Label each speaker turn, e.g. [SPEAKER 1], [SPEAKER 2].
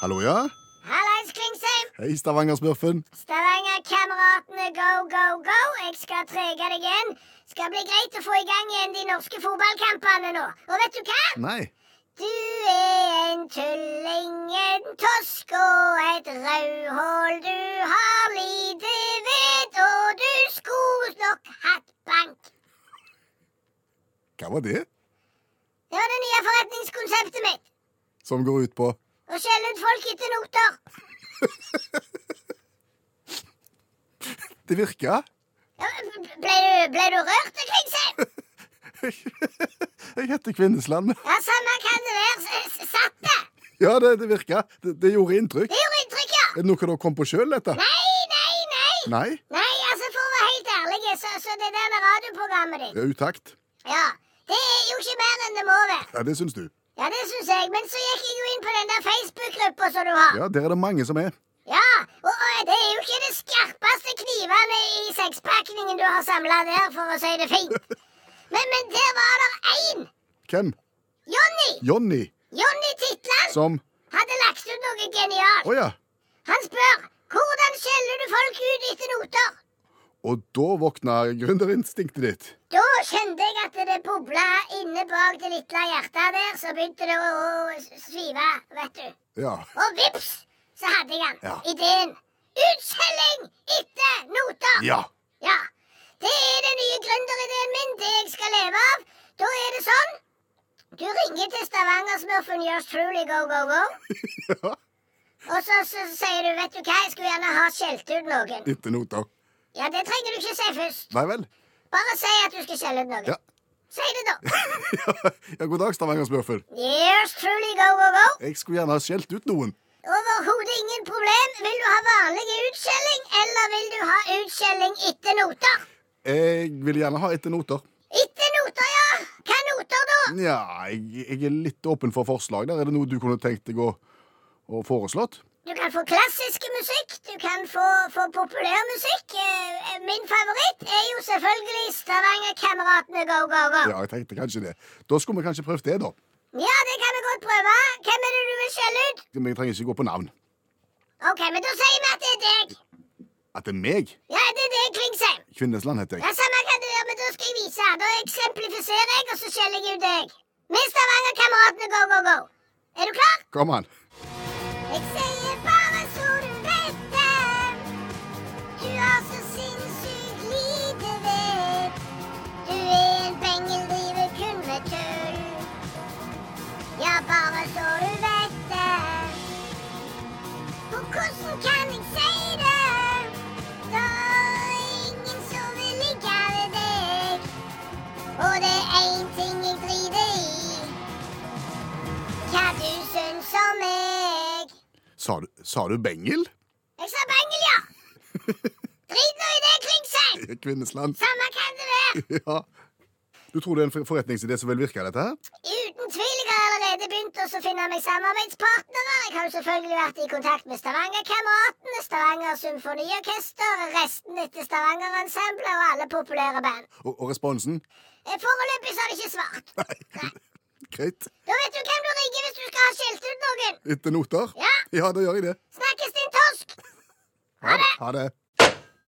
[SPEAKER 1] Hallo, ja?
[SPEAKER 2] Hallais, Klingsheim!
[SPEAKER 1] Hei, Stavanger-smurfen.
[SPEAKER 2] Stavanger-kameratene, go, go, go! Jeg skal trege deg igjen. Skal bli greit å få i gang igjen de norske fotballkampene nå. Og vet du hva?
[SPEAKER 1] Nei.
[SPEAKER 2] Du er en tulling, en tosk og et rødhål. Du har lite vett, og du skulle nok hatt bank.
[SPEAKER 1] Hva var det
[SPEAKER 2] Det var det nye forretningskonseptet mitt.
[SPEAKER 1] som går ut på?
[SPEAKER 2] Å skjelle ut folk etter noter.
[SPEAKER 1] Det virka.
[SPEAKER 2] Ja, men Ble du, ble du rørt, Klingsheim?
[SPEAKER 1] Jeg heter Kvinnesland.
[SPEAKER 2] Ja, samme kan det være. S- s- Satt det.
[SPEAKER 1] Ja, det, det virka. Det, det gjorde inntrykk.
[SPEAKER 2] Det gjorde inntrykk, ja.
[SPEAKER 1] Er det noe dere kom på sjøl, dette?
[SPEAKER 2] Nei, nei, nei.
[SPEAKER 1] Nei?
[SPEAKER 2] Nei, altså For å være helt ærlig, så, så det der med radioprogrammet ditt
[SPEAKER 1] Det er utakt.
[SPEAKER 2] Ja, Det er jo ikke mer enn det må være.
[SPEAKER 1] Ja, det syns du.
[SPEAKER 2] Ja, det syns jeg. Men så gikk jeg jo inn på den der Facebook-gruppa som du har.
[SPEAKER 1] Ja, der er det mange som er.
[SPEAKER 2] Ja, og, og det er jo ikke det skarpeste knivene i sekspakningen du har samla der, for å si det fint. Men, men der var det én!
[SPEAKER 1] Hvem?
[SPEAKER 2] Jonny!
[SPEAKER 1] Jonny.
[SPEAKER 2] Jonny Titland
[SPEAKER 1] Som
[SPEAKER 2] hadde lagt ut noe
[SPEAKER 1] Å
[SPEAKER 2] genialt.
[SPEAKER 1] ja.
[SPEAKER 2] Han spør hvordan skjeller du folk ut etter noter?
[SPEAKER 1] Og da våkna gründerinstinktet ditt.
[SPEAKER 2] Da kjente jeg at det bobla inne bak det lille hjertet der, så begynte det å, å svive, vet du.
[SPEAKER 1] Ja.
[SPEAKER 2] Og vips, så hadde jeg den.
[SPEAKER 1] Ja.
[SPEAKER 2] Ideen. Utskjelling etter noter.
[SPEAKER 1] Ja.
[SPEAKER 2] Ja. Det er den nye gründerideen min, det jeg skal leve av. Da er det sånn. Du ringer til Stavanger-smurfen Yours Truly Go Go Go.
[SPEAKER 1] ja.
[SPEAKER 2] Og så, så sier du, vet du hva, jeg skulle gjerne ha skjelt ut noen.
[SPEAKER 1] Etter noter.
[SPEAKER 2] Ja, det trenger du ikke si først.
[SPEAKER 1] Nei vel?
[SPEAKER 2] Bare si at du skal skjelle ut noen.
[SPEAKER 1] Ja.
[SPEAKER 2] Si det, da.
[SPEAKER 1] ja, god dag, Stavanger-smurfen.
[SPEAKER 2] Yours Truly Go Go Go.
[SPEAKER 1] Jeg skulle gjerne ha skjelt ut noen.
[SPEAKER 2] Overhodet ingen problem. Vil du ha vanlig utskjelling, eller vil du ha utskjelling etter noter?
[SPEAKER 1] Jeg vil gjerne ha etter noter.
[SPEAKER 2] Etter noter, ja. Hva noter da?
[SPEAKER 1] Nja, jeg, jeg er litt åpen for forslag der. Er det noe du kunne tenkt deg å, å foreslått?
[SPEAKER 2] Du kan få klassisk musikk, du kan få, få populærmusikk. Eh, eh, Min favoritt er jo selvfølgelig Stavanger-kameratene Go Go Go.
[SPEAKER 1] Ja, jeg tenkte kanskje det. Da skulle vi kanskje prøvd det, da.
[SPEAKER 2] Ja, det kan vi godt prøve. Hvem er det du vil skjelle ut?
[SPEAKER 1] Men jeg trenger ikke gå på navn.
[SPEAKER 2] Ok, men da sier vi at det er deg.
[SPEAKER 1] At det er meg?
[SPEAKER 2] Ja, det er deg, Klingsheim.
[SPEAKER 1] Kvinnesland heter
[SPEAKER 2] Ja,
[SPEAKER 1] jeg.
[SPEAKER 2] samme kan det være, men da skal jeg vise. Da eksemplifiserer jeg, og så skjeller jeg ut deg. Med Stavanger-kameratene Go Go Go. Er du klar?
[SPEAKER 1] Kom an.
[SPEAKER 2] Jeg sier bare så du vet det. Du har så sinnssykt lite vett. Du er en pengel, driver kun med tull. Ja, bare så du vet det. Og hvordan kan jeg si det? Da er ingen som vil ligge ved deg. Og det er én ting jeg driter i. Hva du syns om meg.
[SPEAKER 1] Sa du, sa du Bengel?
[SPEAKER 2] Jeg sa Bengel, ja. Drit nå i det, Klingsheim.
[SPEAKER 1] Kvinnesland.
[SPEAKER 2] Samme kan det være.
[SPEAKER 1] Ja. Du tror det er en for- forretningsidé som vil virke, dette her?
[SPEAKER 2] Uten tvil jeg har allerede begynt å finne meg samarbeidspartnere. Jeg har jo selvfølgelig vært i kontakt med Stavanger-kameratene, Stavanger Symfoniorkester, resten etter Stavanger-ensemblet og alle populære band.
[SPEAKER 1] Og, og responsen?
[SPEAKER 2] Eh, Foreløpig så har de ikke svart.
[SPEAKER 1] Nei. Greit.
[SPEAKER 2] Da vet du hvem du ringer hvis du skal ha skjelt ut noen.
[SPEAKER 1] Etter noter?
[SPEAKER 2] Ja,
[SPEAKER 1] Ja, da gjør jeg det.
[SPEAKER 2] snakkes din tosk.
[SPEAKER 1] Ha det. Ha det.